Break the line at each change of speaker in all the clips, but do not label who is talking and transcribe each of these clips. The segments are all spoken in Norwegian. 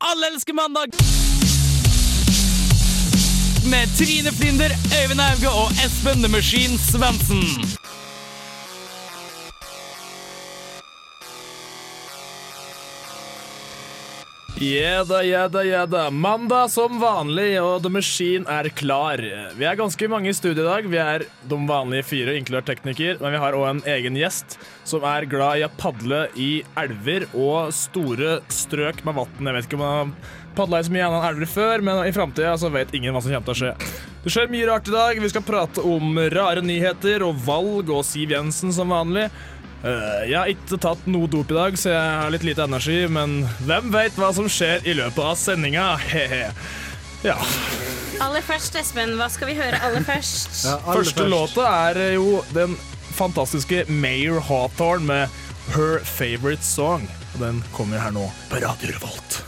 Alle elsker mandag! Med Trine Flinder, Øyvind Auge og Espen The Machine Svendsen.
Jeda, jeda, jeda. Mandag som vanlig, og The Machine er klar. Vi er ganske mange i studio i dag. Vi er de vanlige fire, inkludert tekniker. Men vi har òg en egen gjest som er glad i å padle i elver og store strøk med vann. Jeg vet ikke om han har padla i så mye annet elver før, men i framtida så vet ingen hva som kommer til å skje. Det skjer mye rart i dag. Vi skal prate om rare nyheter og valg og Siv Jensen som vanlig. Eh, Jeg har ikke tatt noe dop i dag, så jeg har litt lite energi, men hvem veit hva som skjer i løpet av sendinga? Hehe. Ja.
Aller først, Espen, hva skal vi høre aller først?
Første låta er eh, jo den fantastiske Mayor Hawthorne med Her Favorite Song. Og Den kommer her nå på Radio Revolt.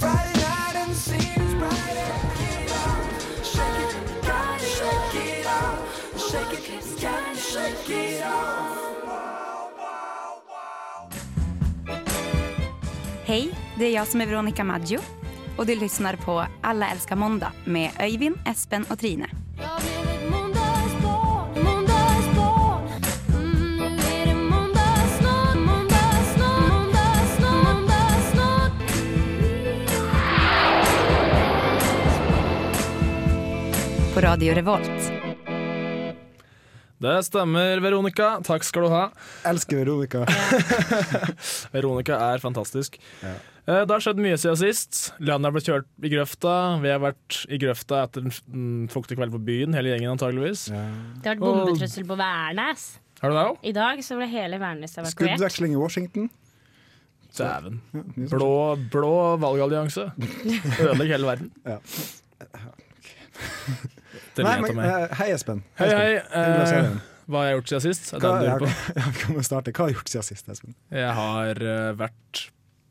Friday night and the scene is brighter. Get up, shake it, gotta shake it off. Shake it, gotta shake it off.
Hej, det är jag som är Veronica Maggio och du lyssnar på Alla älskar måndag med Öyvind, Espen och Trine.
Jag vill ett måndagsbarn, måndagsbarn. Mm, nu är det måndagssnart, måndagssnart, måndagssnart, måndagssnart.
På Radio Revolt.
Det stemmer, Veronica. Takk skal du ha.
Elsker Veronica.
Veronica er fantastisk. Eh, Det har skjedd mye siden sist. Landet er blitt kjørt i grøfta. Vi har vært i grøfta etter en mm, fuktig kveld på byen, hele gjengen antageligvis.
Det har vært bombetrussel
Oh.
på Værnes.
Har du det òg?
I dag så ble hele Værnes evakuert.
Skuddveksling i Washington.
Dæven. Blå, blå valgallianse. Ødelegg hele verden.
Ja.
Det
Nei,
blir jeg
men,
av meg.
eh, hei, Espen.
Hei, hei.
Hyggelig å se
Eh,
deg.
hva har jeg gjort siden sist? Er det
Hva,
det du
jeg,
lurer på?
jeg kan jo starte. Hva har du gjort siden sist, Espen?
Jeg har eh, vært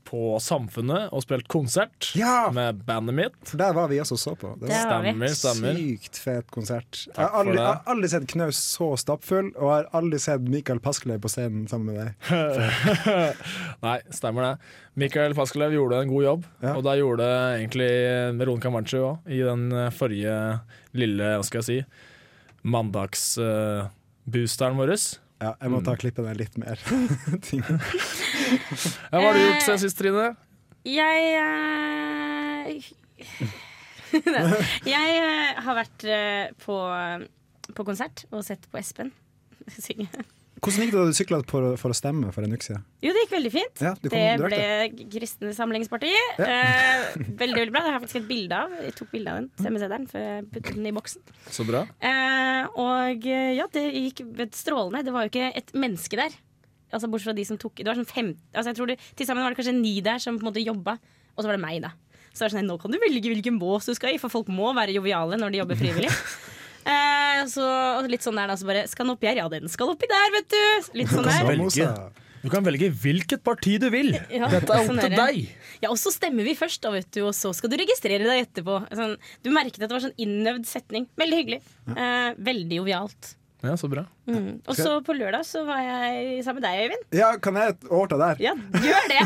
på Samfunnet og spilt konsert
Ja!
med bandet mitt.
For der var vi også og så på. Det
Det
var
har vi.
Stemmer, stemmer.
Sykt fet konsert. Jeg har
for
aldri,
det.
jeg har aldri sett Knaus så stappfull, og jeg har aldri sett Mikael Paskelev på scenen sammen med deg.
Nei, stemmer det. Mikael Paskelev gjorde en god jobb,
Ja.
og da gjorde egentlig Veronica Manchu òg, i den eh, forrige lille, hva skal jeg si, mandagsboosteren vår.
Ja, jeg
Mm.
må ta og klippe den litt mer. Ting.
Ja, Hva har du gjort
Eh.
siden sist, Trine?
Jeg eh, Jeg eh, har vært eh, på, på konsert og sett på Espen synge.
Hvordan gikk det da du sykla for, å- for å stemme for en uke siden?
Jo, det gikk veldig fint.
Ja, du kom
Det
direkte.
ble Kristne Samlingsparti. Eh, veldig veldig bra. Det har jeg faktisk et bilde av. Jeg tok bilde av den stemmeseddelen før jeg puttet den i boksen.
Så bra.
Eh, og eh, ja, det gikk vet, strålende. Det var jo ikke et menneske der. Altså Bortsett fra de som tok Det var sånn fem altså, jeg tror det, Til sammen var det kanskje ni der som på en måte jobba, og så var det meg, da. Så det var sånn, nå kan du velge hvilken bås du skal i, for folk må være joviale når de jobber frivillig. Eh, så og litt sånn der da, så bare Skal den oppi her? Ja, den skal oppi der, vet du! Litt sånn der.
Samosa.
Du kan velge hvilket parti du vil.
Ja,
Dette er opp
sånn
til
er
deg.
det. Ja, og så stemmer vi først, da, vet du, og så skal du registrere deg etterpå. Sånn, du merket at det var sånn innøvd setning. Veldig hyggelig. Eh, veldig jovialt.
Ja, så bra.
Mm. Og så på lørdag så var jeg sammen med deg, Øyvind.
Ja, kan jeg overta der?
Ja, gjør det!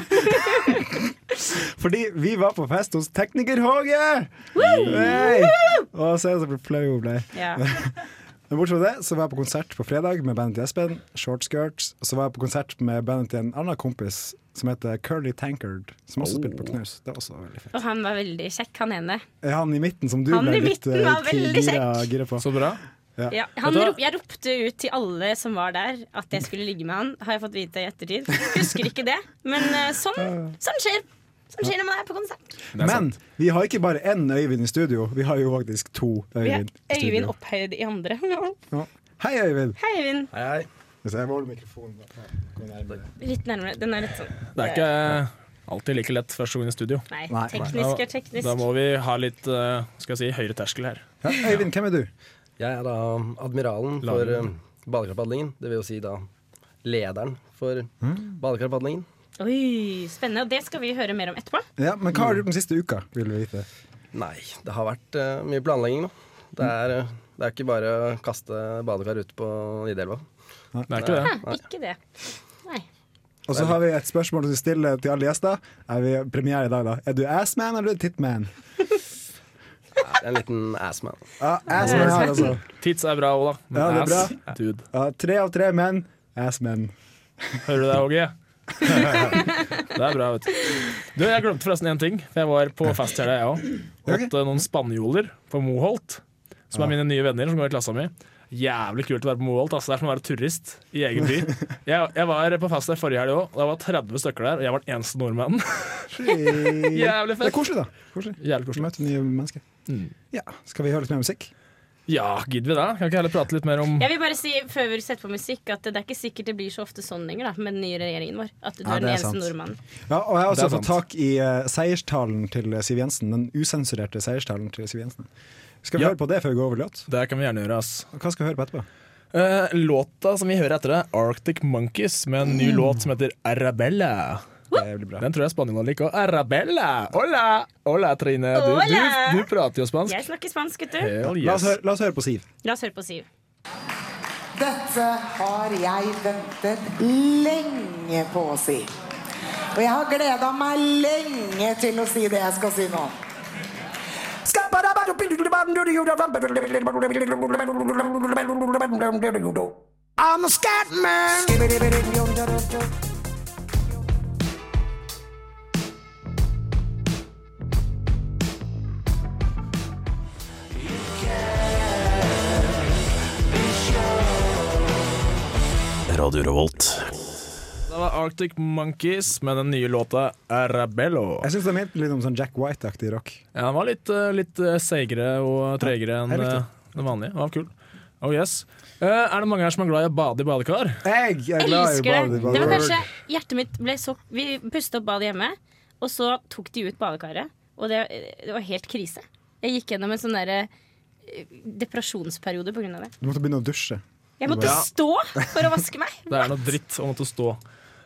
Fordi vi var på fest hos Tekniker Håge! Hey! Og se så flau hun ble.
Ja.
Men bortsett fra det så var jeg på konsert på fredag med bandet til Espen, Short Skirts. Og så var jeg på konsert med bandet til en annen kompis som heter Curly Tankard, som også spilte på Knaus. Det var også veldig fett.
Og han var veldig kjekk, han ene.
Er han i midten som du
Han
ble
i
litt
midten
eh,
var veldig
gira, gira på?
Så bra.
Ja,
Vet
han
du hva?
rop, jeg ropte ut til alle som var der, at jeg skulle ligge med han. Har jeg fått vite i ettertid. Husker ikke det. Men eh, sånn, sånn skjer. Sånn skjer det når man er på konsert.
Det er
Men
sant.
vi har ikke bare én Øyvind i studio, vi har jo faktisk to
Vi er
Øyvind. i studio.
Øyvind opphøyd i andre.
Ja. Hei, Øyvind!
Hei, Øyvind.
Hvis jeg holder mikrofonen da. Kom nærmere.
Litt nærmere. Den er litt sånn
Det er ikke eh, alltid like lett første gang i studio.
Nei,
Nei.
teknisk er teknisk.
Da må vi ha litt eh, skal jeg si, høyere terskel her.
Ja, Øyvind, hvem er du?
Jeg er da admiralen for eh, badekarpadlingen. Det vil jo si da lederen for badekarpadlingen.
Oi, spennende. Og det skal vi høre mer om etterpå.
Ja, men hva har du gjort den siste uka, vil vi vite?
Nei, det har vært eh, mye planlegging nå. Det er, eh, det er ikke bare å kaste badekar ut på Nidelva.
Det er ikke det.
Hæ, ikke det. Nei.
Og så har vi et spørsmål som vi stiller til alle gjester. Er vi premiere i dag, da? Er du assman eller titman?
Det er en liten assman.
Ja, assman her, altså.
Tits er bra, Ola. Men
Ja, det er
ass, dude.
Ja, tre av tre menn, assmen.
Hører du det, HG? det er bra, vet du. Du, Jeg glemte forresten én ting. for Jeg var på fest her, jeg òg. Hatt eh, noen spanjoler på Moholt, som er mine nye venner som går i klassa mi. Jævlig kult å være på Moholt. Altså. Det er som å være turist i egen by. Jeg, jeg var på fest der forrige helg òg. Det var 30 stykker der, og jeg var den eneste nordmannen.
Det
Jævlig
er
fett.
koselig, da. Koselig.
Jævlig koselig.
Møte nye mennesker.
Mm.
Ja, Skal vi høre litt mer musikk?
Ja, gidder vi det? Kan vi ikke heller prate litt mer om
Jeg vil bare si før vi setter på musikk at det er ikke sikkert det blir så ofte sånn lenger da, med den nye regjeringen vår. At du
Ja,
er den
det er
eneste
sant.
nordmannen.
Ja, og jeg har
Det
også
er
fått
sant.
tak i eh, seierstalen til Siv Jensen. Den usensurerte seierstalen til Siv Jensen. Skal vi
Ja.
høre på det før vi går over låt?
Det kan vi gjerne gjøre, ass.
Og Hva skal vi høre på etterpå?
Eh, låta som vi hører etter det, Arctic Monkeys med en ny låt som heter Arabella.
Det blir bra.
Den tror jeg spanjolene liker. også. Arabella! Hola! Hola, Trine. Du,
Hola!
du, du prater jo spansk.
Jeg snakker spansk, gutter.
Hell
La
yes.
oss, høre, la oss høre på Siv.
La oss høre på Siv.
Dette har jeg ventet lenge på å si. Og jeg har gleda meg lenge til å si det jeg skal si nå. I'm a scat man.
Radio Revolt.
Det var Arctic Monkeys med den nye låta Arabello.
Jeg syns den minner litt om sånn Jack White-aktig rock.
Ja, den var litt, eh, litt eh, seigere og tregere enn
jeg likte
eh, den vanlige. Den var kul. Oh yes. Eh, er det mange her som er glad i å bade i badekar?
Jeg er glad i
Elsker det.
Body
Det var kanskje hjertet mitt ble så Vi pustet opp badet hjemme, og så tok de ut badekaret. Og det, det var helt krise. Jeg gikk gjennom en sånn derre eh, depresjonsperiode pga. det.
Du måtte begynne å dusje.
Jeg måtte
Ja.
stå for å vaske meg.
Det er noe dritt å måtte stå.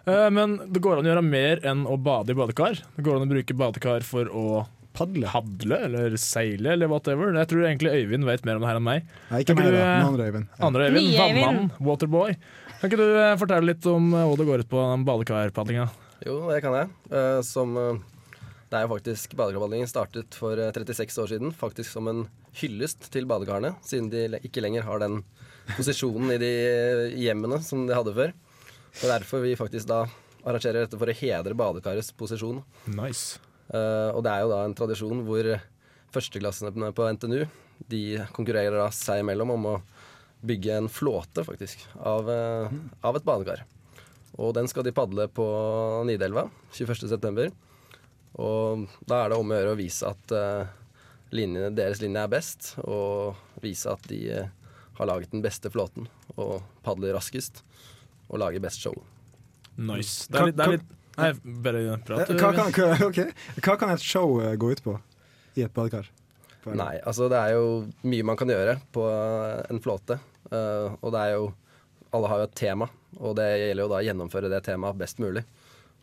Eh, Men det går an å gjøre mer enn å bade i badekar. Det går an å bruke badekar for å
Padle.
padle eller seile eller whatever. Jeg tror egentlig Øyvind vet mer om det her enn meg.
Nei, ikke
Kan
meg,
ikke
da.
du,
Den
eh,
andre Øyvind. Ja.
Andre Øyvind,
Nye Øyvind.
vannmann, waterboy. Kan ikke du eh, fortelle litt om eh, hva det går ut på den badekarpadlinga?
Jo, det kan jeg. Eh, Som eh, Det er jo faktisk Badekarpadlingen startet for eh, 36 år siden. Faktisk som en hyllest til badekarene, siden de le- ikke lenger har den posisjonen i de eh, hjemmene som de hadde før. Og derfor vi faktisk da arrangerer dette for å hedre badekarets posisjon.
Nice.
Eh, og det er jo da en tradisjon hvor førsteklassene på NTNU de konkurrerer da seg imellom om å bygge en flåte, faktisk, av, eh, av et badekar. Og den skal de padle på Nidelva 21.9. Og da er det om å gjøre å vise at eh, linjene, deres linje er best, og vise at de eh, har laget den beste flåten, og padler raskest, og lager best show.
nice. Det er litt, det er litt Nei, bare prat.
Eh, Hva kan, hva, ok. hva kan et show eh, gå ut på i et badekar? På en-
Nei, altså det er jo mye man kan gjøre på eh, en flåte. Eh, og det er jo Alle har jo et tema, og det gjelder jo da å gjennomføre det temaet best mulig.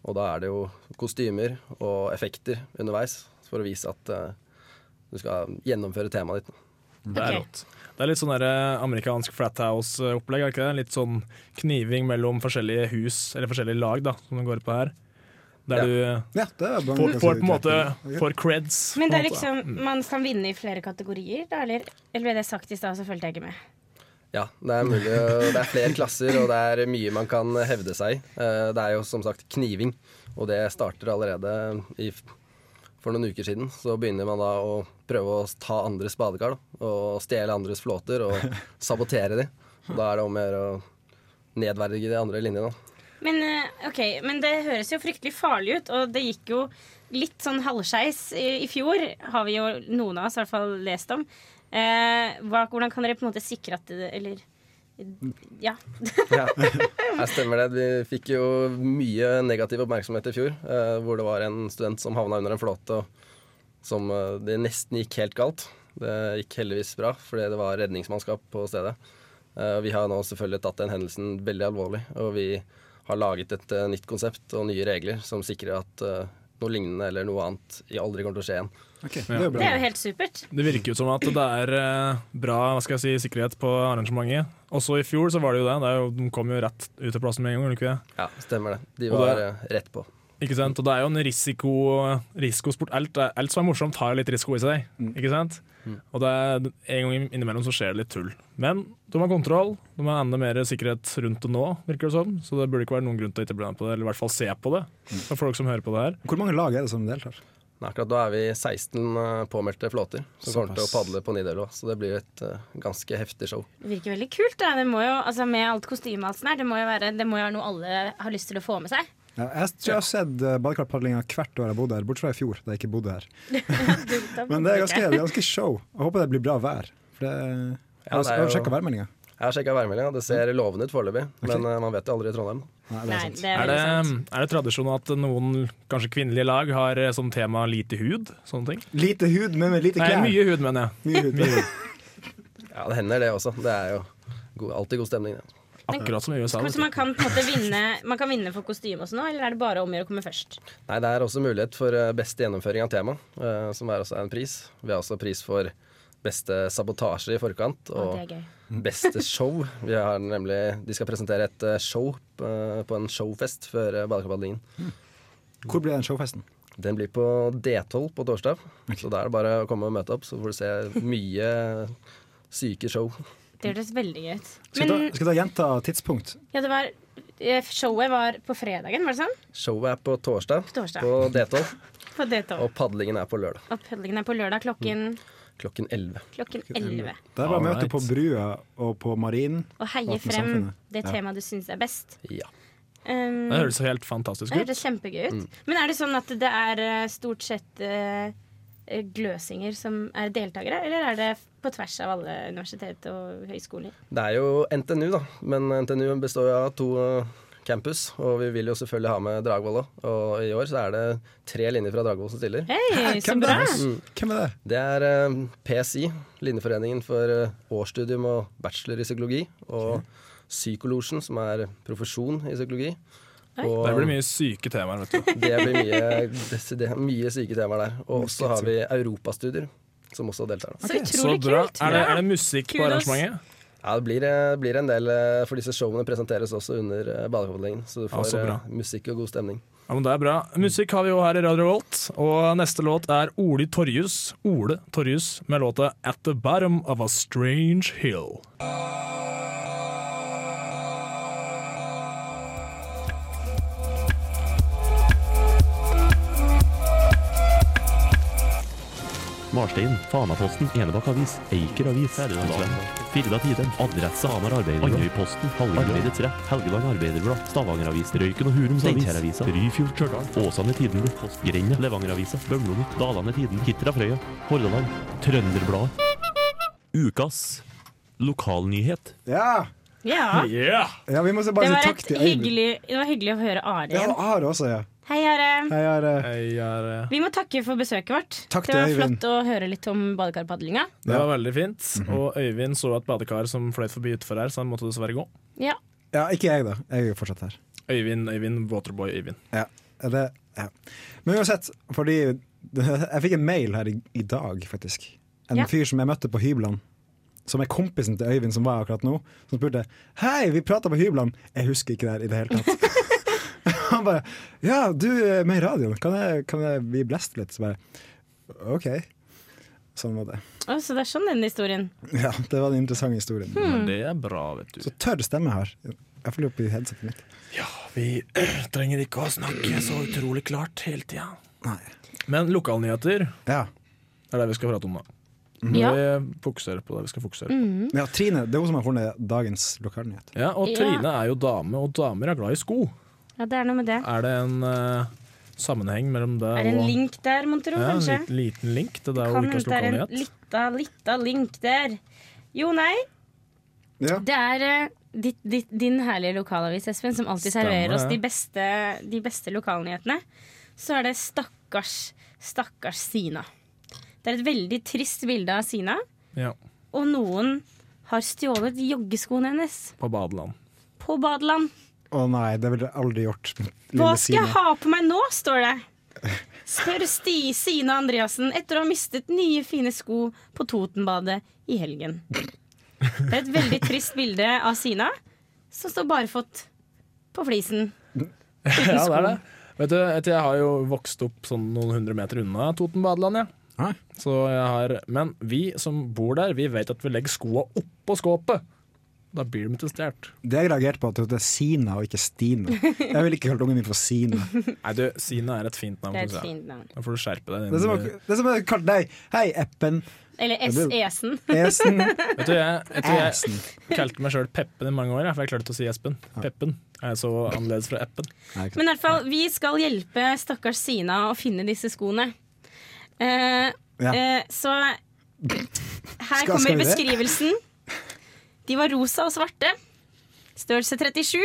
Og da er det jo kostymer og effekter underveis for å vise at eh, du skal gjennomføre temaet ditt.
Det er
Ok.
rått. Det er litt sånn der eh, amerikansk flathouse-opplegg. er det ikke det? Litt sånn kniving mellom forskjellige hus, eller forskjellige lag, da, som det går ut på her. Der
Ja.
du
Ja, det er bare-
får, får på en måte
Ok.
får creds.
Men
på
det
en måte,
er
da.
liksom, man kan vinne i flere kategorier, da? Eller, eller ble det sagt i stad, så fulgte jeg ikke med.
Ja, det er mulig. å- Det er flere klasser, og det er mye man kan hevde seg i. Eh, Det er jo som sagt kniving, og det starter allerede i, f- for noen uker siden. Så begynner man da å prøve å ta andres badekar, da, og stjele andres flåter og sabotere de. Og da er det om å gjøre å nedverdige de andre linjene. da.
Men, eh, ok, men det høres jo fryktelig farlig ut, og det gikk jo litt sånn halvskeis i, i fjor. Har vi jo noen av oss i hvert fall lest om. Eh, hva, hvordan kan dere på en måte sikre at det, Eller Ja.
Ja, jeg stemmer det. Vi fikk jo mye negativ oppmerksomhet i fjor, eh, hvor det var en student som havna under en flåte og som eh, det nesten gikk helt galt. Det gikk heldigvis bra, fordi det var redningsmannskap på stedet. Eh, vi har nå selvfølgelig tatt den hendelsen veldig alvorlig, og vi har laget et eh, nytt konsept og nye regler som sikrer at eh, noe lignende eller noe annet aldri kommer til å skje igjen.
det er jo bra.
Det er jo helt supert.
Det virker jo som at det er eh, bra hva skal jeg si, sikkerhet på arrangementet. Også i fjor så var det jo det. det er jo, de kom jo rett ut til plassen med en gang. gjorde de Ikke, det?
Ja, stemmer det. De
Og
var
det-
eh, rett på.
ikke sant? Og det er jo en risiko, risikosport. Alt, er- alt som er morsomt, har jo litt risiko i seg. Ikke sant? Og det er, en gang innimellom så skjer det litt tull. Men de har kontroll. De har enda mer sikkerhet rundt det nå, virker det som. Så det burde ikke være noen grunn til å ikke bli med på det, eller i hvert fall se på det. For folk som hører på det her.
Hvor mange lag er det som deltar?
Men akkurat nå er vi 16 eh, påmeldte flåter som kommer til å
Såpass.
padle på Nidelva, så det blir et eh, ganske heftig show.
Det virker veldig kult. Da. Det må jo, altså, med alt kostymet og alt sånt her, det må jo være, det må jo være noe alle har lyst til å få med seg.
Ja, jeg tror jeg har sett eh, badekarpadlinga hvert år jeg har bodd her, bortsett fra i fjor, da jeg ikke bodde her. Men det er ganske, det er ganske show. Jeg håper det blir bra vær. For det,
Ja,
har
det
du
er
har du
jo-
sjekka værmeldinga?
Jeg har sjekka værmeldinga, det ser lovende ut foreløpig, men eh, man vet jo aldri i Trondheim.
Nei,
Nei, det er
Er det, um,
veldig sant.
er det tradisjon at noen kanskje kvinnelige lag har eh, som tema lite hud? Sånne ting?
Lite hud, men med lite
Nei,
klær.
mye hud, mener jeg.
Mye hud.
Mye hud.
Ja, det hender det også. Det er jo god, alltid god stemning. Det.
Akkurat som i USA. vet
Så
du.
man kan, på en måte, vinne, man kan vinne for kostyme og sånn òg, eller er det bare om å gjøre å komme først?
Nei, det er også mulighet for eh, beste gjennomføring av tema, eh, som er også en pris. Vi har også pris for beste sabotasje i forkant,
Å,
og
det er gøy.
beste show. Vi har nemlig, de skal presentere et eh, show eh, på en showfest før eh, badekarpadlingen.
Hvor blir den showfesten?
Den blir på D12 på torsdag, så da er det bare å komme og møte opp, så får du se mye syke show.
Det hørtes veldig gøy ut.
Skal
Men
jeg ta- skal jeg ta gjenta tidspunkt?
ja, det var, eh, showet var på fredagen, var det sånn?
Showet er på torsdag
På torsdag.
på D12,
På D12.
og padlingen er på lørdag
Og padlingen er på lørdag
Mm.
klokken,
klokken 11.
klokken 11.
Det er bare å møte
Alright.
på brua og på marinen.
Og heie
Åpne
frem
samfunnet.
det
Ja.
temaet du syns er best.
Ja.
Um,
Det høres helt fantastisk
Det
ut.
hørtes kjempegøy
Mm.
ut. Men er det sånn at det er eh, stort sett eh, gløsinger som er deltakere, eller er det på tvers av alle universitet og høyskoler?
Det er jo NTNU, da. Men NTNU består jo av to eh, campus, og vi vil jo selvfølgelig ha med Dragvoll òg. Og i år så er det tre linjer fra Dragvoll som stiller. Mm.
Hei, så
Hvem er
bra!
det? Hvem er det?
Det er eh, PSI, Linjeforeningen for eh, årsstudium og bachelor i psykologi, og Psykolosjen, som er profesjon i psykologi. Og
Der blir det mye syke temaer, vet du.
det blir mye, desidert- mye syke temaer der. Og så har vi europastudier, som også deltar. Da.
Så
Så utrolig
bra.
kult.
Er det, er det musikk på
Kudos.
arrangementet?
Ja, det blir, eh, blir en del, eh, for disse showene presenteres også under eh, badekåpelingen, så du
Ja,
får
så bra.
eh, musikk og god stemning.
Ja, men det er bra. Musikk har vi jo her i Radio Volt, og neste låt er Ole Torjus, Ole Torjus med låta At The Bottom of a Strange Hill.
Marstein, Fanaposten, Enebakk Avis, Eiker Avis, Firda Tiden, Adresse Hamar Arbeiderblad, Andøyposten, Hallingarbeiderets Rett, Helgeland Arbeiderblad, Stavanger Avis, Røyken og Hurums Avis, Steinkjeravisa, Ryfjord Stjørdal, Åsane Tidenblu, Grenda, Levangeravisa, Bømlonet, Dalane Tiden, Hitra Frøya, Hordaland, Trønderbladet. Ukas lokalnyhet.
Ja.
Ja.
Yeah!
ja, vi må se
Det
bare si
var,
takk
et
til Eivind.
hyggelig, det var hyggelig å høre Are
Ja,
igjen.
Are også, ja.
Hei, Are.
Hei, Are.
Jeg er, eh,
Vi må takke for besøket vårt.
Takk
det var
til Øyvind.
flott å høre litt om badekarpadlinga.
det var veldig fint. Og Øyvind så et badekar som fløyt forbi utfor her, så han måtte dessverre gå.
Ja.
Ja, ikke jeg, da. Jeg er jo fortsatt her.
Øyvind, Øyvind, Waterboy Øyvind.
Ja, det, ja. Men uansett, fordi jeg fikk en mail her i, i dag, faktisk. En
Ja.
fyr som jeg møtte på hyblene. Som er kompisen til Øyvind som var her akkurat nå. Som spurte Hei, vi prata på hyblene! Jeg husker ikke det her i det hele tatt. Han bare Ja, du er med i radioen. Kan, jeg, kan jeg bli blest litt? Så bare OK. Sånn var det.
Å, så det er sånn den historien.
Ja, Det var den interessante historien.
Mm.
Men det er bra, vet du.
Så tørr stemme her. Iallfall oppi headsetet mitt.
Vi trenger ikke å snakke så utrolig klart hele tida.
Nei.
Men lokalnyheter
Ja.
er det vi skal prate om nå. Mm.
Ja. Mm.
Vi fokuserer på det vi skal fokusere på.
ja, Trine, det er hun som har funnet dagens lokalnyhet.
Ja, og
Ja.
Trine er jo dame, og damer er glad i sko.
ja, det er noe med det.
Er det en eh, sammenheng mellom det
Er det en
og
link der, mon tro?
Ja, en
Kanskje?
liten, liten link til det og
Kan
ukas
hende det er en
lokalnyhet?
lita, lita link der. Jo, nei.
Ja.
Det er eh, ditt, ditt, din herlige lokalavis, Espen, som alltid
Stemmer
serverer oss
det.
de beste, de beste lokalnyhetene. Så er det stakkars, stakkars Sina. Det er et veldig trist bilde av Sina,
Ja,
og noen har stjålet joggeskoene hennes
på badeland.
på badeland.
Å nei, det ville jeg aldri gjort.
Hva skal jeg ha på meg nå, står det. Spør Sti Sine Andreassen etter å ha mistet nye, fine sko på Totenbadet i helgen. Det er et veldig trist bilde av Sina, som står barfot på flisen.
ja, det er det. Vet du, vet du, jeg har jo vokst opp sånn noen hundre meter unna Toten badeland, jeg. Så jeg har, men vi som bor der, vi vet at vi legger skoa oppå skåpet. Da blir de ikke stjålet.
Det jeg reagerte på, at det er Sina og ikke Stine. Jeg ville ikke kalt ungen min for Sine.
Nei, du, Sina er et fint navn.
Det er et
synes jeg.
fint navn.
Da får du skjerpe deg. eh,
Det er som å- det er som jeg kalte deg Hei, Eppen.
Eller
Det
S-Esen.
Esen.
Vet du, jeg, vet du, jeg
Asen.
kalte meg sjøl Peppen i mange år, jeg, for jeg klarte ikke å si Espen. Peppen. Jeg er så annerledes fra Eppen.
Men i hvert fall, vi skal hjelpe stakkars Sina å finne disse skoene. Eh,
Ja.
eh, så her
Skal-
kommer
skal vi det?
beskrivelsen. De var rosa og svarte. Størrelse 37.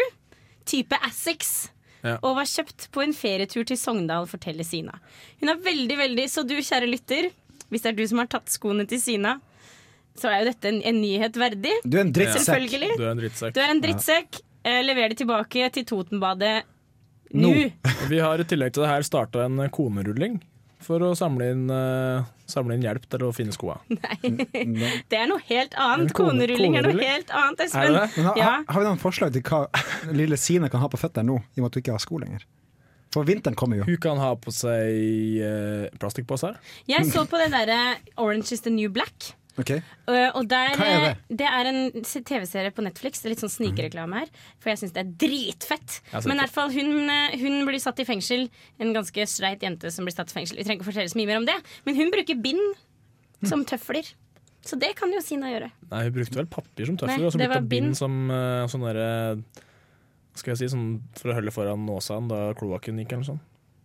Type Assex.
Ja.
Og var kjøpt på en ferietur til Sogndal, forteller Sina. Hun er veldig, veldig Så du, kjære lytter, hvis det er du som har tatt skoene til Sina, så er jo dette en, en nyhet verdig.
Du er en drittsekk.
Selvfølgelig.
Du er en drittsekk.
Du er en drittsekk. Eh, Lever det tilbake til Totenbadet
Nå! Vi har i tillegg til det her starta en konerulling for å samle inn, eh, samle inn hjelp til å finne skoa.
Nei, det er noe helt
En
annet.
kone-
Konerulling er noe
konerulling?
helt annet,
Men
Espen.
har,
Ja.
har vi noen forslag til hva lille Sine kan ha på føttene nå, i og med at hun ikke har sko lenger? For vinteren kommer jo.
Hun kan ha på seg eh, plastikkposer.
Jeg så på det derre Orange is the new black.
Ok.
øh, Og der,
Hva er det?
eh, det er en s- TV-serie på Netflix. Det er Litt sånn snikreklame her. For jeg syns det er dritfett.
Jeg har sett
Men i
det.
hvert fall hun, eh, hun blir satt i fengsel. En ganske streit jente som blir satt i fengsel. Vi trenger ikke fortelle så mye mer om det. Men hun bruker bind som tøfler. Så det kan jo Sina gjøre.
Nei, hun brukte vel papir som
Nei,
tøffel, og så brukte
det var
hun bind
bind.
som eh, sånn derre Skal jeg si sånn for å holde foran nåsaen da kloakken gikk, eller noe sånt.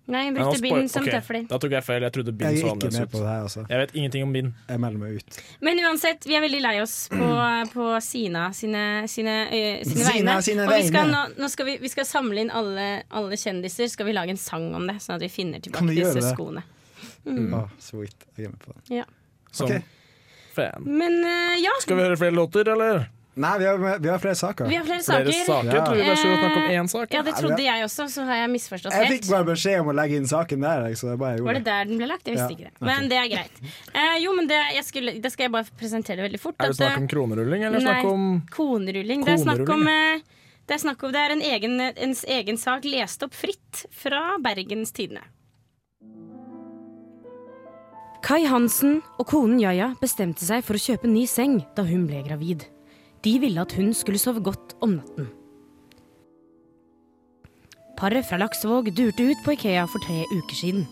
Nei, hun
Nei, nå
brukte
spoil-
bind som
ok,
tøfler.
Da tok jeg feil. Jeg trodde bind
Jeg er
så
ikke med
annerledes
på
ut.
det her, altså.
Jeg vet ingenting om bind.
Jeg melder meg ut.
Men uansett, vi er veldig lei oss på, på Sina sine, sine, ø, sine
Sina
vegne.
sine
og vi skal, nå,
vegne.
nå skal vi, vi skal samle inn alle, alle kjendiser. Skal vi lage en sang om det, sånn at vi finner tilbake
Kan vi gjøre
disse
det?
skoene.
Mm.
Mm.
sweet. Jeg er med på det.
Ja.
Som
Ok.
fan.
Men ø, ja.
Skal vi høre flere låter, eller?
Nei, vi har, vi har flere saker.
Vi har flere saker. Eh,
Ja.
Tror vi bare skulle snakke om én sak?
Ja, det
Nei,
trodde
vi
jeg også, så har jeg misforstått
Jeg fikk
helt.
bare beskjed om å legge inn saken der. jeg, Så det er bare jeg
Var det
gjorde
der den ble lagt? Jeg visste
Ja,
ikke det. Men det er greit. Eh, jo, men det, jeg skulle, det skal jeg bare presentere veldig fort.
Er det
at, eh, ø,
snakk om kronerulling, eller
Nei,
snakk om
konerulling. Det er snakk om,
Konerulling,
eh, det er, snakk om, det er en, egen, en egen sak lest opp fritt fra Bergens Tidende. Kai Hansen og konen Jaja bestemte seg for å kjøpe ny seng da hun ble gravid. De ville at hun skulle sove godt om natten. Paret fra Laksevåg durte ut på Ikea for tre uker siden.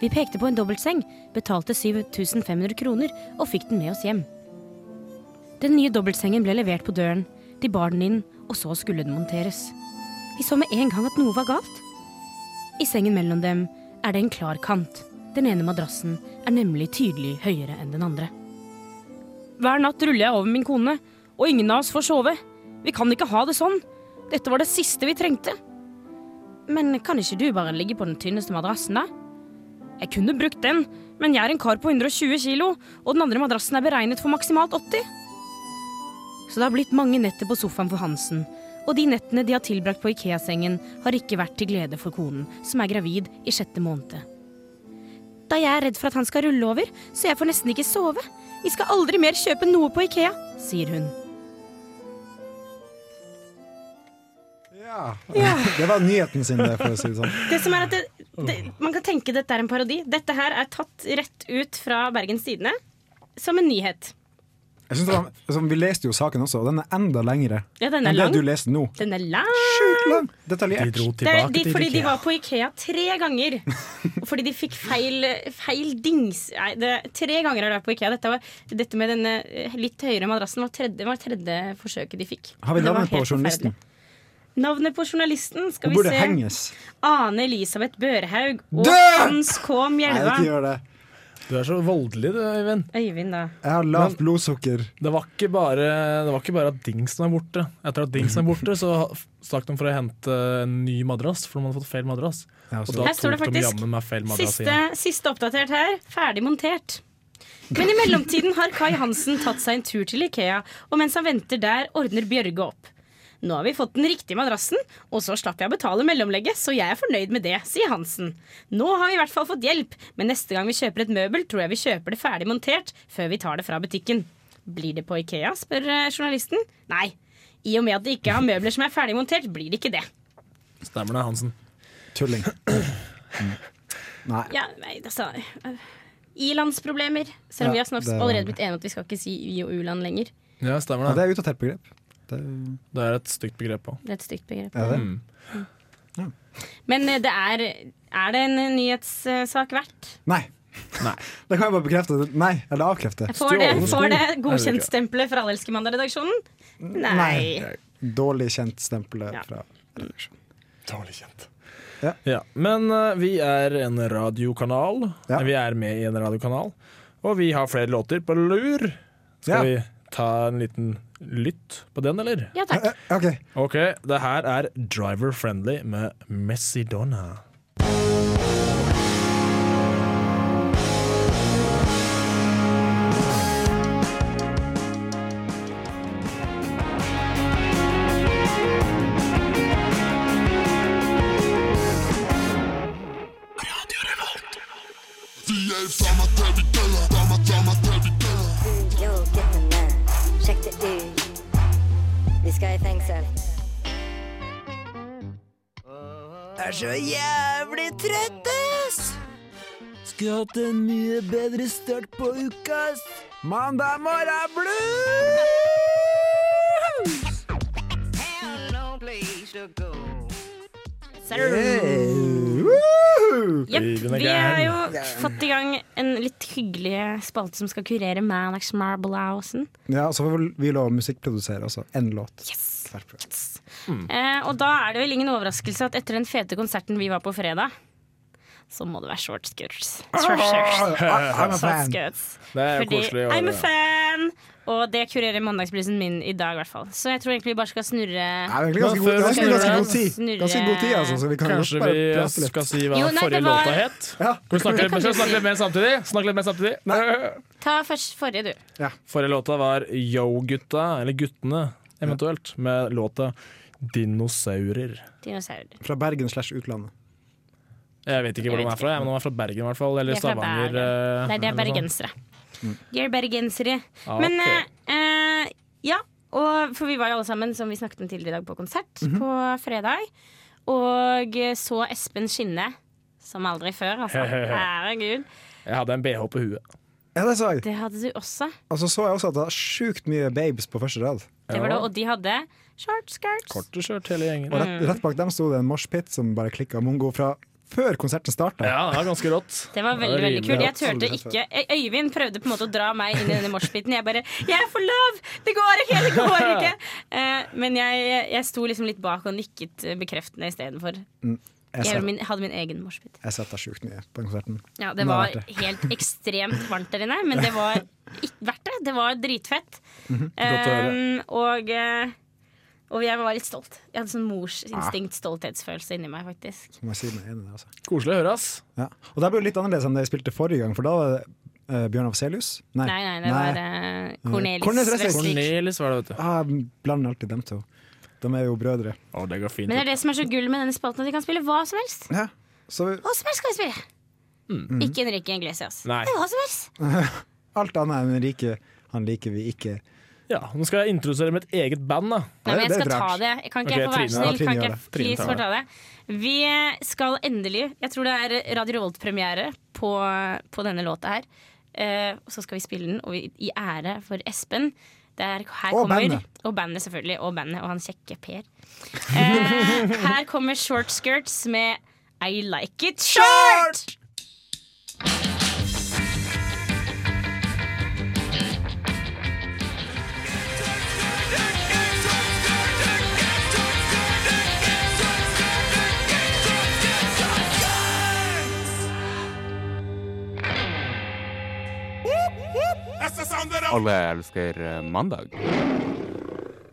Vi pekte på en dobbeltseng, betalte 7500 kroner og fikk den med oss hjem. Den nye dobbeltsengen ble levert på døren, de bar den inn, og så skulle den monteres. Vi så med en gang at noe var galt. I sengen mellom dem er det en klar kant. Den ene madrassen er nemlig tydelig høyere enn den andre. Hver natt ruller jeg over min kone, og ingen av oss får sove. Vi kan ikke ha det sånn. Dette var det siste vi trengte. Men kan ikke du bare ligge på den tynneste madrassen, da? Jeg kunne brukt den, men jeg er en kar på 120 kilo, og den andre madrassen er beregnet for maksimalt 80. Så det har blitt mange netter på sofaen for Hansen, og de nettene de har tilbrakt på Ikea-sengen, har ikke vært til glede for konen, som er gravid i sjette måned. Da jeg er redd for at han skal rulle over, så jeg får nesten ikke sove. Vi skal aldri mer kjøpe noe på Ikea, sier hun.
Ja. Det var nyheten sin, det, for å si det sånn.
Det som er at det, det, Man kan tenke dette er en parodi. Dette her er tatt rett ut fra Bergens Tidende som en nyhet.
Jeg synes det var, altså, vi leste jo saken også, og den er enda lengre
Ja, den er
enn
lang.
det du leste nå.
Den er lang.
Detaljert.
Det er de, fordi de var på Ikea tre ganger. Fordi de fikk feil, feil dings... Nei, det, tre ganger har de vært på Ikea. Dette, var, dette med denne eh, litt høyere madrassen var tredje, var tredje forsøket de fikk.
Har vi
Det var
navnet på
helt
journalisten?
forferdelig. Navnet på journalisten skal
Hun
vi
burde
se.
henges.
Ane Elisabeth Børhaug og
Dø!
Hans K. Mjelva.
det.
Du er så voldelig, du, Øyvind.
Øyvind, da.
Jeg har lavt blodsukker.
Det var, ikke bare, det var ikke bare at dingsen er borte. Etter at dingsen er borte, så stakk de for å hente en ny madrass, for de hadde fått feil madrass.
Ja,
og
så-
da
Her står
tok de
det faktisk
jammen meg feil madrass
Siste,
igjen.
siste oppdatert her. Ferdig montert. Men i mellomtiden har Kai Hansen tatt seg en tur til Ikea, og mens han venter der, ordner Bjørge opp. Nå har vi fått den riktige madrassen, og så slapp jeg å betale mellomlegget, så jeg er fornøyd med det, sier Hansen. Nå har vi i hvert fall fått hjelp, men neste gang vi kjøper et møbel, tror jeg vi kjøper det ferdig montert før vi tar det fra butikken. Blir det på Ikea, spør eh, journalisten. Nei. I og med at de ikke har møbler som er ferdig montert, blir det ikke det.
Stemmer det, Hansen.
Tulling. Nei.
Ja, nei, altså øh, I-landsproblemer. Selv om
Ja,
vi har snart
det er
allerede blitt enige om at vi skal ikke si y- og u-land lenger.
Ja, stemmer
Ja,
det.
det er utdatert begrep. Det er
Det er et stygt begrep òg.
Det er et stygt begrep.
Ja, det.
Mm.
Men øh, det er Er det en øh, nyhetssak verdt?
Nei.
Nei.
Det kan jeg bare bekrefte. Nei, eller avkrefte.
Får det,
Stjålen sko.
får det godkjentstempelet fra Allelskemandag-redaksjonen? Nei.
Dårlig kjent stempelet
Ja.
fra redaksjonen.
Dårlig kjent.
Ja.
Men eh, vi er en radiokanal.
Ja.
Vi er med i en radiokanal. Og vi har flere låter på lur. Skal
Ja.
vi ta en liten lytt på den, eller?
Ja takk.
OK.
OK, det her er Driver Friendly med Messidonna.
Yo, gutten der, sjekk det ut. Vi skal i fengsel.
Er så jævlig trøtt, ass!
Skulle hatt en mye bedre start på uka, ass.
Mandag morgen
eh,
Jepp. Vi har jo fått i gang en litt hyggelig spalte som skal kurere Manax Marblausen.
Ja, så får vi lov å musikkprodusere også. Én låt. Hvert program.
Eh, og da er det vel ingen overraskelse at etter den fete konserten vi var på fredag, så må det være short skirts. Short skirts.
Eh,
I'm a
Short
fan.
skirts.
Det er jo
Fordi
koselig å
I'm a
høre.
fan! Og det kurerer mandagsbrisen min i dag, i hvert fall. Så jeg tror egentlig vi bare skal snurre
Ja, det er egentlig ganske god- ganske-
Snurre-
ganske god tid.
snurre-
Ganske god tid, altså, så vi kan
Kanskje
godt bare
vi
prate litt.
skal si hva
Jo, nei,
forrige
det var-
låta het?
Ja,
Skal vi snakke,
det kan
skal vi
du si.
snakke litt mer samtidig? Snakke litt mer samtidig?
Ta først forrige, du.
Forrige låta var Yo-gutta, eller Guttene, eventuelt, med låta Dinosaurer.
Dinosaur.
Fra Bergen slash utlandet.
Jeg vet ikke hvor de
Jeg vet
er fra, jeg, men de er fra Bergen i hvert fall.
De
Eller
er fra
Stavanger.
Bergen.
eh,
Nei, de er
eller noe
bergensere. De er bergensere.
Ah,
Men
ok.
eh, eh, ja, og, for vi var jo alle sammen, som vi snakket om tidligere i dag, på konsert på fredag. Og eh, så Espen skinne som aldri før, altså. Herregud.
sånt. Jeg hadde en BH på huet.
Ja, det så jeg.
Det hadde du også.
Og så så jeg også at det var sjukt mye babes på første rad.
Det var det, og de hadde short skirts.
Korte skjørt hele gjengen.
Og
Mm.
rett, rett bak dem sto det en moshpit som bare klikka mongo fra før konserten starta.
Ja, det var ganske rått.
Det var veldig veldig kult. Jeg turte ikke Øy- Øyvind prøvde på en måte å dra meg inn i denne moshpiten. Jeg bare 'Jeg er for lav! Det går ikke! Det går ikke!' Eh, men jeg, jeg sto liksom litt bak og nikket eh, bekreftende istedenfor.
Mm,
Jeg
Jeg
gjorde
satt,
min, hadde min egen moshpit.
jeg satt der sjukt mye på den konserten.
Ja, det
Men
var
verdt det.
helt ekstremt varmt der inne, men det var ikke verdt det. Det var dritfett.
Mhm. Godt å høre.
Um, og, eh, og jeg var litt stolt. Jeg hadde sånn morsinstinkt, stolthetsfølelse inni meg, faktisk.
Så må jeg si meg enig i det, altså.
Koselig å høre, ass.
Ja. Og det ble jo litt annerledes enn det jeg spilte forrige gang, for da var det eh, Bjørn Afselius.
Nei, nei, det var eh, Cornelis,
Cornelis Vreeswijk.
Vreeswijk.
Cornelis var det, vet du.
Ah, jeg blander alltid dem to. De er jo brødre.
Å, det går fint.
Men det er det som er så gull med denne spalten, at de kan spille hva som helst.
Ja. Så
Hva som helst kan vi spille.
Mm.
Ikke Enrique Iglesias.
Nei.
Det er Hva som helst.
alt annet enn rike, han liker vi ikke.
Ja, Nå skal jeg introdusere mitt eget band, da.
Nei, men jeg skal ta det. Jeg kan ikke jeg
Ok,
få være
Trine,
snill?
Trine gjør
Kan ikke jeg
det. Trine
please
tar det.
få ta det? Vi skal endelig Jeg tror det er Radio Revolt-premiere på, på denne låta her. Eh, og så skal vi spille den, og vi, i ære for Espen. Det er- her
Og
kommer,
bandet.
Og bandet, selvfølgelig. Og bandet og han kjekke Per. Eh, her kommer Short Skirts med I Like It Short!
Alle elsker eh, mandag.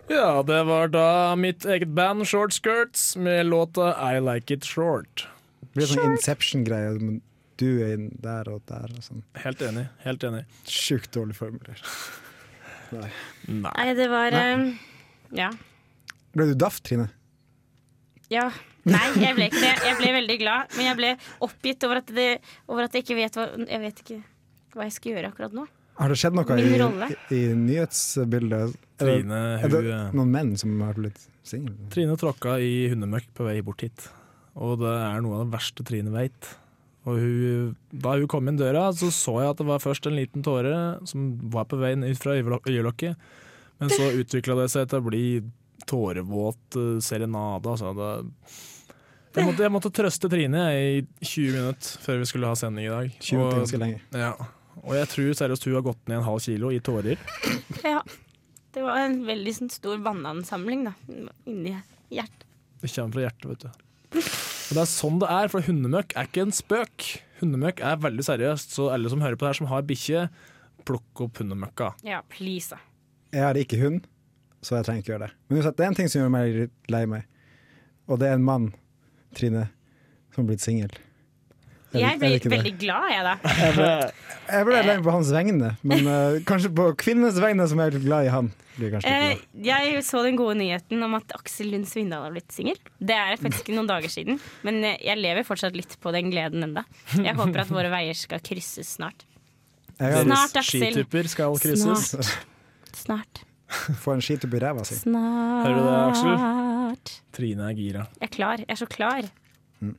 Ja, det var da mitt eget band Short Skirts med låta I Like It Short.
Det blir sånn Inception-greie. men Du er inn der og der og sånn.
Helt enig. helt enig
Sjukt dårlig formulert. Nei.
Nei.
Nei, det var
Nei.
eh, Ja.
Ble du daff, Trine?
Ja. Nei, jeg ble ikke det. Jeg ble veldig glad, men jeg ble oppgitt over at, det, over at jeg ikke vet hva Jeg vet ikke hva jeg skal gjøre akkurat nå.
Har det skjedd noe i,
Min rolle.
i nyhetsbildet? Er det,
Trine,
er det
hun- eh,
noen menn som har blitt single?
Trine tråkka i hundemøkk på vei bort hit, og det er noe av det verste Trine veit. Og hun, da hun kom inn døra, så så jeg at det var først en liten tåre som var på veien ut fra øyelok- øyelokket, men så utvikla det seg til å bli tårevåt eh, serenade. Altså. Det, jeg, måtte, jeg måtte trøste Trine jeg, i 20 minutter før vi skulle ha sending i dag.
20 minutter er ganske lenge.
Ja. Og jeg tror seriøst hun har gått ned en halv kilo i tårer.
Ja. Det var en veldig sånn, stor banansamling da, inni hjertet.
Det kommer fra hjertet, vet du. Og det er sånn det er, for hundemøkk er ikke en spøk. Hundemøkk er veldig seriøst, så alle som hører på det her som har bikkje, plukk opp hundemøkka.
Ja, please, da.
Jeg har ikke hund, så jeg trenger ikke gjøre det. Men uansett, det er en ting som gjør meg litt lei meg, og det er en mann, Trine, som har blitt singel. Er det-
Jeg
er
ble
det ikke det?
veldig glad, jeg, da.
Jeg ble, jeg ble lei meg på hans vegne, men eh, kanskje på kvinnenes vegne, som er litt glad i han. Blir jeg kanskje litt
Eh, jeg så den gode nyheten om at Aksel Lund Svindal har blitt singel. Det er faktisk noen dager siden, men eh, jeg lever fortsatt litt på den gleden enda. Jeg håper at våre veier skal krysses snart.
glad. Jeg-
Snart, Aksel.
Skitupper skal krysses.
Snart.
Få en skitupp i ræva si.
Snart.
Hører du det, Aksel? Trine er gira.
Jeg er klar. Jeg er så klar.
Mm.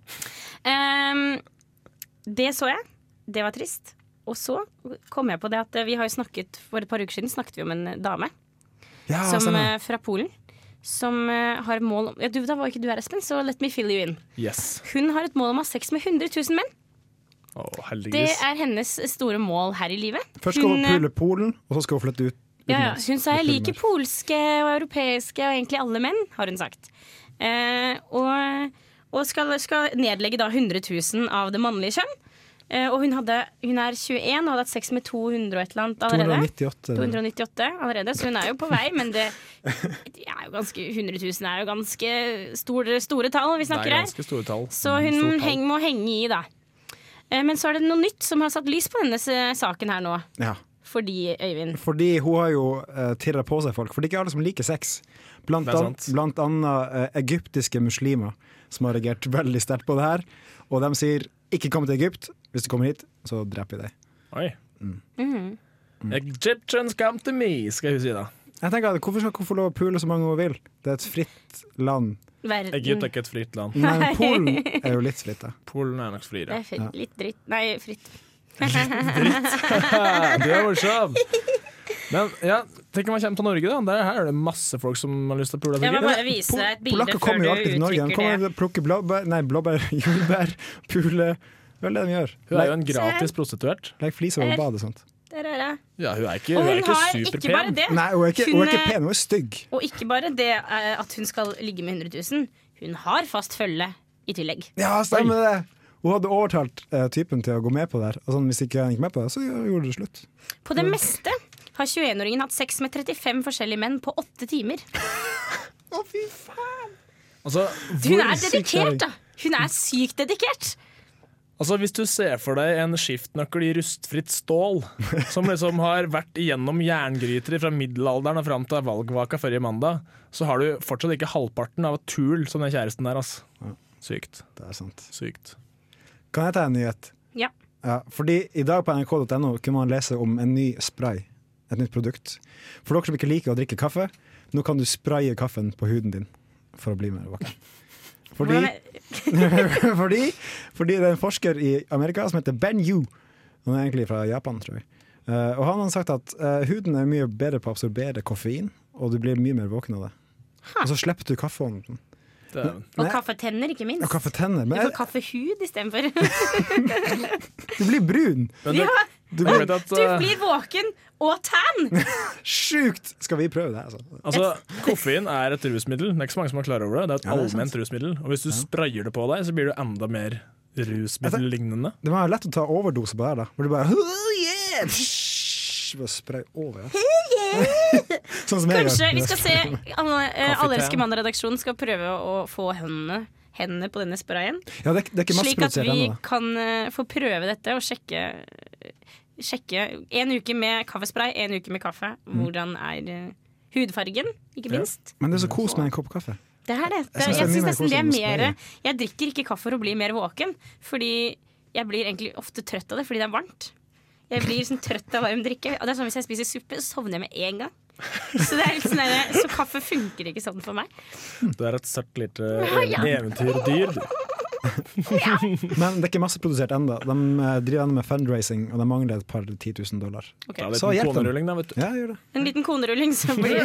Ehm, det så jeg. Det var trist. Og så kom jeg på det at vi har jo snakket for et par uker siden snakket vi om en dame
Ah,
Ja,
som,
stemmer.
eh, fra Polen som eh, har mål om ja, du, Da var ikke du her, Espen, så let me fill you in.
Yes.
Hun har et mål om å ha sex med 100 000 menn.
Å,
Det
heldiggris.
er hennes store mål her i livet.
Først skal hun
eh,
pule Polen, og så skal hun flytte ut.
ja, ja.
utenlands.
Hun sa jeg
Litt
liker polske og europeiske og egentlig alle menn, har hun sagt. Eh, og og skal, skal nedlegge da 100 000 av det mannlige kjønn. Eh, og hun, hadde, hun er 21 og hadde hatt sex med 200 og et eller annet allerede.
298.
298 allerede, så hun er jo på vei, men det, det er jo ganske, 100 000 er jo ganske store, store tall
Det
vi
er
snakker her.
ganske store tall.
Så
Mm, stort
hun
tall.
heng, må henge i, da. Eh, Men så er det noe nytt som har satt lys på denne s- saken her nå.
Ja.
Fordi, Øyvind
Fordi hun har jo uh, tirra på seg folk. For det er ikke alle som liker sex. Blant,
Det er
an, blant annet eh, egyptiske muslimer som har reagert veldig sterkt på det her. Og de sier 'ikke kom til Egypt'. Hvis du kommer hit, så dreper vi deg.
Oi.
Mhm.
Egyptians come to me, skal hun si da.
Jeg tenker, at Hvorfor skal hun få lov å pule så mange hun vil? Det er et fritt land.
Verden.
Egypt er ikke et fritt land.
Mm.
Nei, men Polen er jo litt fritt, da.
Polen er nok fritt,
Det er fritt, litt dritt. Nei, fritt.
du er morsom! Men ja, tenk om man kommer til Norge, da. Der her er det masse folk som har lyst til å pule.
Jeg
tenker
må
jeg.
bare vise deg et bilde
Polakker
før
kommer
du
jo alltid til Norge. De
uttrykker
kommer
det.
og plukker blåbær, nei, blåbær, jordbær, pule Det er det de gjør.
Hun er jo en gratis prostituert.
Legg flis
Eh,
over badet og sånt.
Der er det.
Ja, hun er ikke,
Og
hun
hun
er ikke
har ikke
superpen.
bare det.
Nei, hun er ikke, hun er ikke
Hun er-
pen, hun er stygg.
Og ikke bare det eh, at hun skal ligge med 100 000. Hun har fast følge i tillegg.
Ja, stemmer det! Hun hadde overtalt eh, typen til å gå med på det her. Og sånn, hvis ikke han gikk med på det, så gjorde det slutt.
På det meste har 21-åringen hatt sex med 35 forskjellige menn på åtte timer.
Å, fy faen!
Altså,
Hun
hvor
er
sykt
dedikert,
det
da! Hun er sykt dedikert.
Altså, Hvis du ser for deg en skiftnøkkel i rustfritt stål, som liksom har vært igjennom jerngryter fra middelalderen og fram til valgvaka forrige mandag, så har du fortsatt ikke halvparten av et tul som den kjæresten der. ass. Sykt.
Det er sant.
Sykt.
Kan jeg ta en nyhet?
Ja.
Ja, fordi i dag på nrk.no kunne man lese om en ny spray. Et nytt produkt. For dere som ikke liker å drikke kaffe, nå kan du spraye kaffen på huden din for å bli mer våken. Fordi, fordi, fordi det er en forsker i Amerika som heter Ben Yu. Han er egentlig fra Japan, tror jeg. Eh, og han har sagt at eh, huden er mye bedre på å absorbere koffein, og du blir mye mer våken av det. Og så slipper du kaffeånden.
Men-
Og
men-
kaffetenner, ikke minst.
Og kaffetenner.
Du
Men
får
jeg,
kaffehud istedenfor.
du blir brun!
Men
Ja.
Du vet at,
Du
eh,
blir våken og tan!
Sjukt! Skal vi prøve det? Altså?
Altså, Koffein er et rusmiddel. Det er ikke så mange som er klar over det. Det er et
Ja, det er sant.
allment rusmiddel. Og hvis du sprayer det på deg, så blir du enda mer Altså, rusmiddellignende.
Det må være lett å ta overdose på det her, da. Hvor du bare, «Åh, yeah!» Psh, bare spray over. sånn som jeg
Kanskje
gjør.
vi skal se Alle, eh,
Coffee
alle elsker
Town.
mandag-redaksjonen skal prøve å få hendene, hendene på denne sprayen.
Ja, det, er- det er ikke
Slik at
masseprodusert
vi
ennå. da.
kan eh, få prøve dette og sjekke Sjekke en uke med kaffespray, en uke med kaffe.
Mm.
Hvordan er eh, Hudfargen, ikke minst.
Men det er så kos med en kopp kaffe.
Det er det.
Jeg
Jeg,
synes
jeg
det er mye
synes
mer
nesten det er mer
koselig med spray.
Jeg drikker ikke kaffe for å bli mer våken, fordi jeg blir egentlig ofte trøtt av det fordi det er varmt. Jeg blir sånn trøtt av varm drikke. Og det er sånn Hvis jeg spiser suppe, så sovner jeg med en gang. Så, det er litt sånn der, så kaffe funker ikke sånn for meg.
Du er et søtt lite
Ja.
ev- eventyrdyr. du.
Men det er ikke masseprodusert ennå. De eh, driver ennå med fundraising, og de mangler et par 10 000 dollar.
Ok.
Da er det
Så
en
hjelp dem.
kronerulling, da, vet du.
Ja, gjør det.
En liten konerulling, så blir det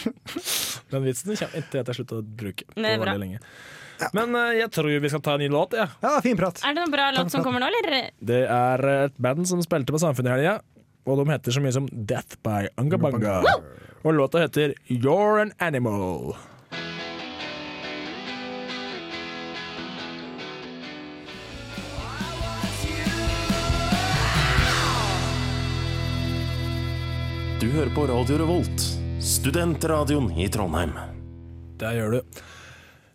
Den vitsen kommer etter at jeg slutta å bruke på
Men det er bra.
veldig lenge. Men eh, jeg tror vi skal ta en ny låt, jeg.
Ja. fin prat.
Er det noen bra låt som kommer nå, eller?
Det er et band som spilte på Samfunnet i helga, og de heter så mye som Death by Ungabunga. Og låta heter You're an Animal.
Du hører på Radio Revolt, studentradioen i Trondheim.
Der gjør du.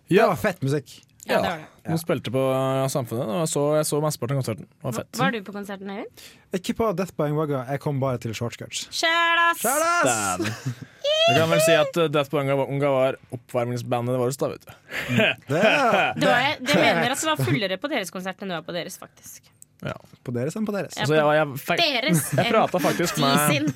Ja, fett musikk.
Ja, det var det.
De spilte på Samfunnet, og jeg så, jeg så mesteparten av konserten. Det var fett.
Var du på konserten, Øyvind?
Ikke på Death by Wagga, jeg kom bare til shortskirts.
Kjælas!
Dæven. Jeg kan vel si at uh, Death by Unga var oppvarmingsbandet vårt, da, vet du.
Det var, det mener at det var fullere på deres konsert enn det var på deres, faktisk.
Ja.
På deres enn på deres.
Altså, jeg, var- jeg, fe-
Deres
jeg
enn
prata faktisk
de
med
sin.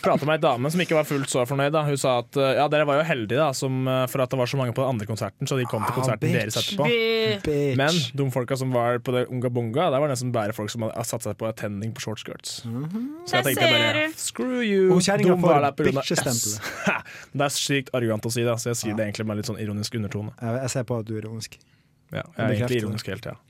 Pratet med ei dame som ikke var fullt så fornøyd. Da. Hun sa at uh, ja, dere var jo heldige da, som, uh, for at det var så mange på den andre konserten, så de kom til
Ah,
konserten
bitch.
deres etterpå.
Bitch. Bitch.
Men de folka som var på det Unga Bunga, der var det nesten bare folk som hadde satt seg på attending på shortskirts. Så jeg
Mhm. Der
tenkte bare
ser du.
screw you.
Og
De
kjerringa får
var der på grunn av
bitchestempelet.
oss. Ha, Det er sykt arrogant å si, da, så jeg sier det egentlig med litt sånn ironisk undertone.
Jeg, jeg ser på at du er ironisk.
Ja, jeg er
Bekrefter
egentlig
det.
ironisk hele tida.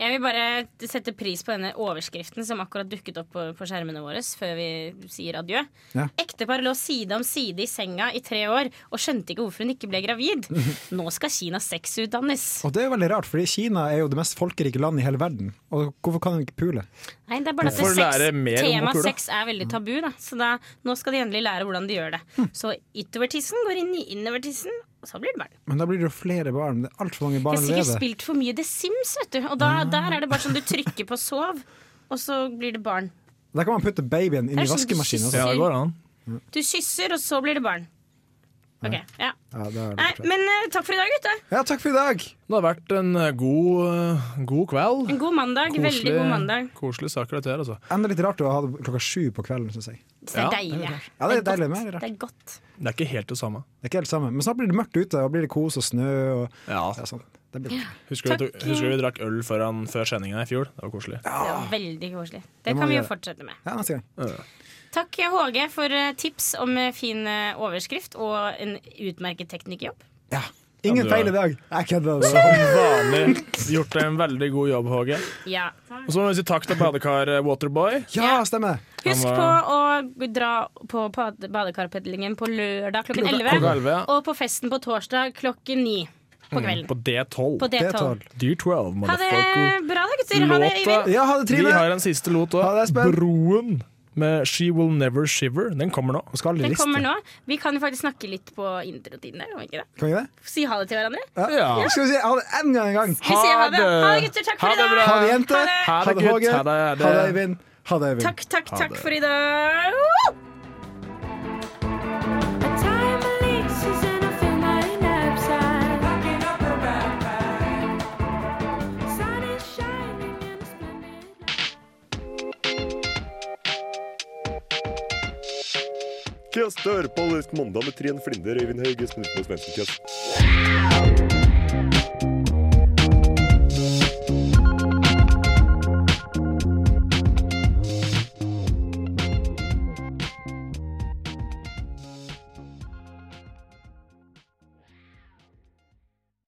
Jeg vil bare sette pris på denne overskriften som akkurat dukket opp på, på skjermene våre før vi sier adjø.
Ja.
Ektepar lå side om side i senga i tre år og skjønte ikke hvorfor hun ikke ble gravid. Nå skal Kina sexutdannes.
Og det er jo veldig rart, fordi Kina er jo det mest folkerike landet i hele verden. Og hvorfor kan de ikke pule?
Nei, det er bare at
Hvorfor lære
sex,
mer om
tema
motor, da?
sex er veldig tabu, da. Så da, nå skal de endelig lære hvordan de gjør det.
Hm.
Så utover-tissen går inn i innover-tissen, og så blir det barn.
Men da blir det jo flere barn. Det er altfor mange
Jeg
barn Ah.
har sikkert
allerede.
spilt for mye The Sims, vet du. Og da, der er det bare sånn du trykker på sov, og så blir det barn.
Da kan man putte babyen inn
Det
i
er sånn du
vaskemaskinen.
kysser- Ja, det går
an.
Du kysser, og så blir det barn. Ok, ja.
Ja, det er det
Nei, men eh, takk for i dag, gutta.
Ja, takk for i dag.
Det har vært en uh, god, uh, god kveld.
En god mandag. Veldig god mandag.
Koselige saker, dette her, altså.
Enda litt rart å ha det klokka sju på kvelden, syns jeg.
Så det er deilig.
Ja, det er deilig, men det er
godt.
rart.
Det er godt.
Det er ikke helt det samme.
Det er ikke helt samme. Men snart blir det mørkt ute, og blir det kos og snø. Og,
Ah.
ja, sånn. det blir...
Husker du, husker du vi drakk øl foran, før sendinga i fjor? Det var koselig.
Det var veldig koselig.
Det
Det
må
kan
vi
vi jo
gjøre.
fortsette med.
Ja, neste gang.
Takk HG for eh, tips om eh, fin eh, overskrift og en utmerket teknikkjobb.
Ingen
Ja, du er-
feil i dag. Jeg kødder.
Som vanlig gjort en veldig god jobb, Håge.
Ja.
Og så må vi si takk til badekar eh, Waterboy.
Ja, stemmer.
Husk på å dra på bad- badekarpedlingen på lørdag klokken
Klokka-
11.
klokka 11, ja.
Og på festen på torsdag klokken 9 Mm. på kvelden.
På D12.
På D12.
D12,
Ha det
motherfucker.
bra da, gutter. Ha det, Øyvind.
Vi har en siste låt òg. Broen med She Will Never Shiver. Den kommer nå.
Den kommer nå. Vi kan jo faktisk snakke litt på introtiden der, kan vi ikke det?
Kan vi det?
Si ha det til hverandre.
Ja. Skal vi si ha det en gang en gang?
Vi sier ha det. Ha det, gutter. Takk for i dag.
Ha det, jenter.
Ha det, gutt.
Håge.
Ha det, ha det.
Ha det, Øyvind. Ha det, Øyvind.
Takk, takk,
Ha
takk
det.
for i dag. Woo!
Kjøs dør på Allersk mandag med Trine Flinder, Øyvind Hauge, Spendersmo Svendsen Kjøs.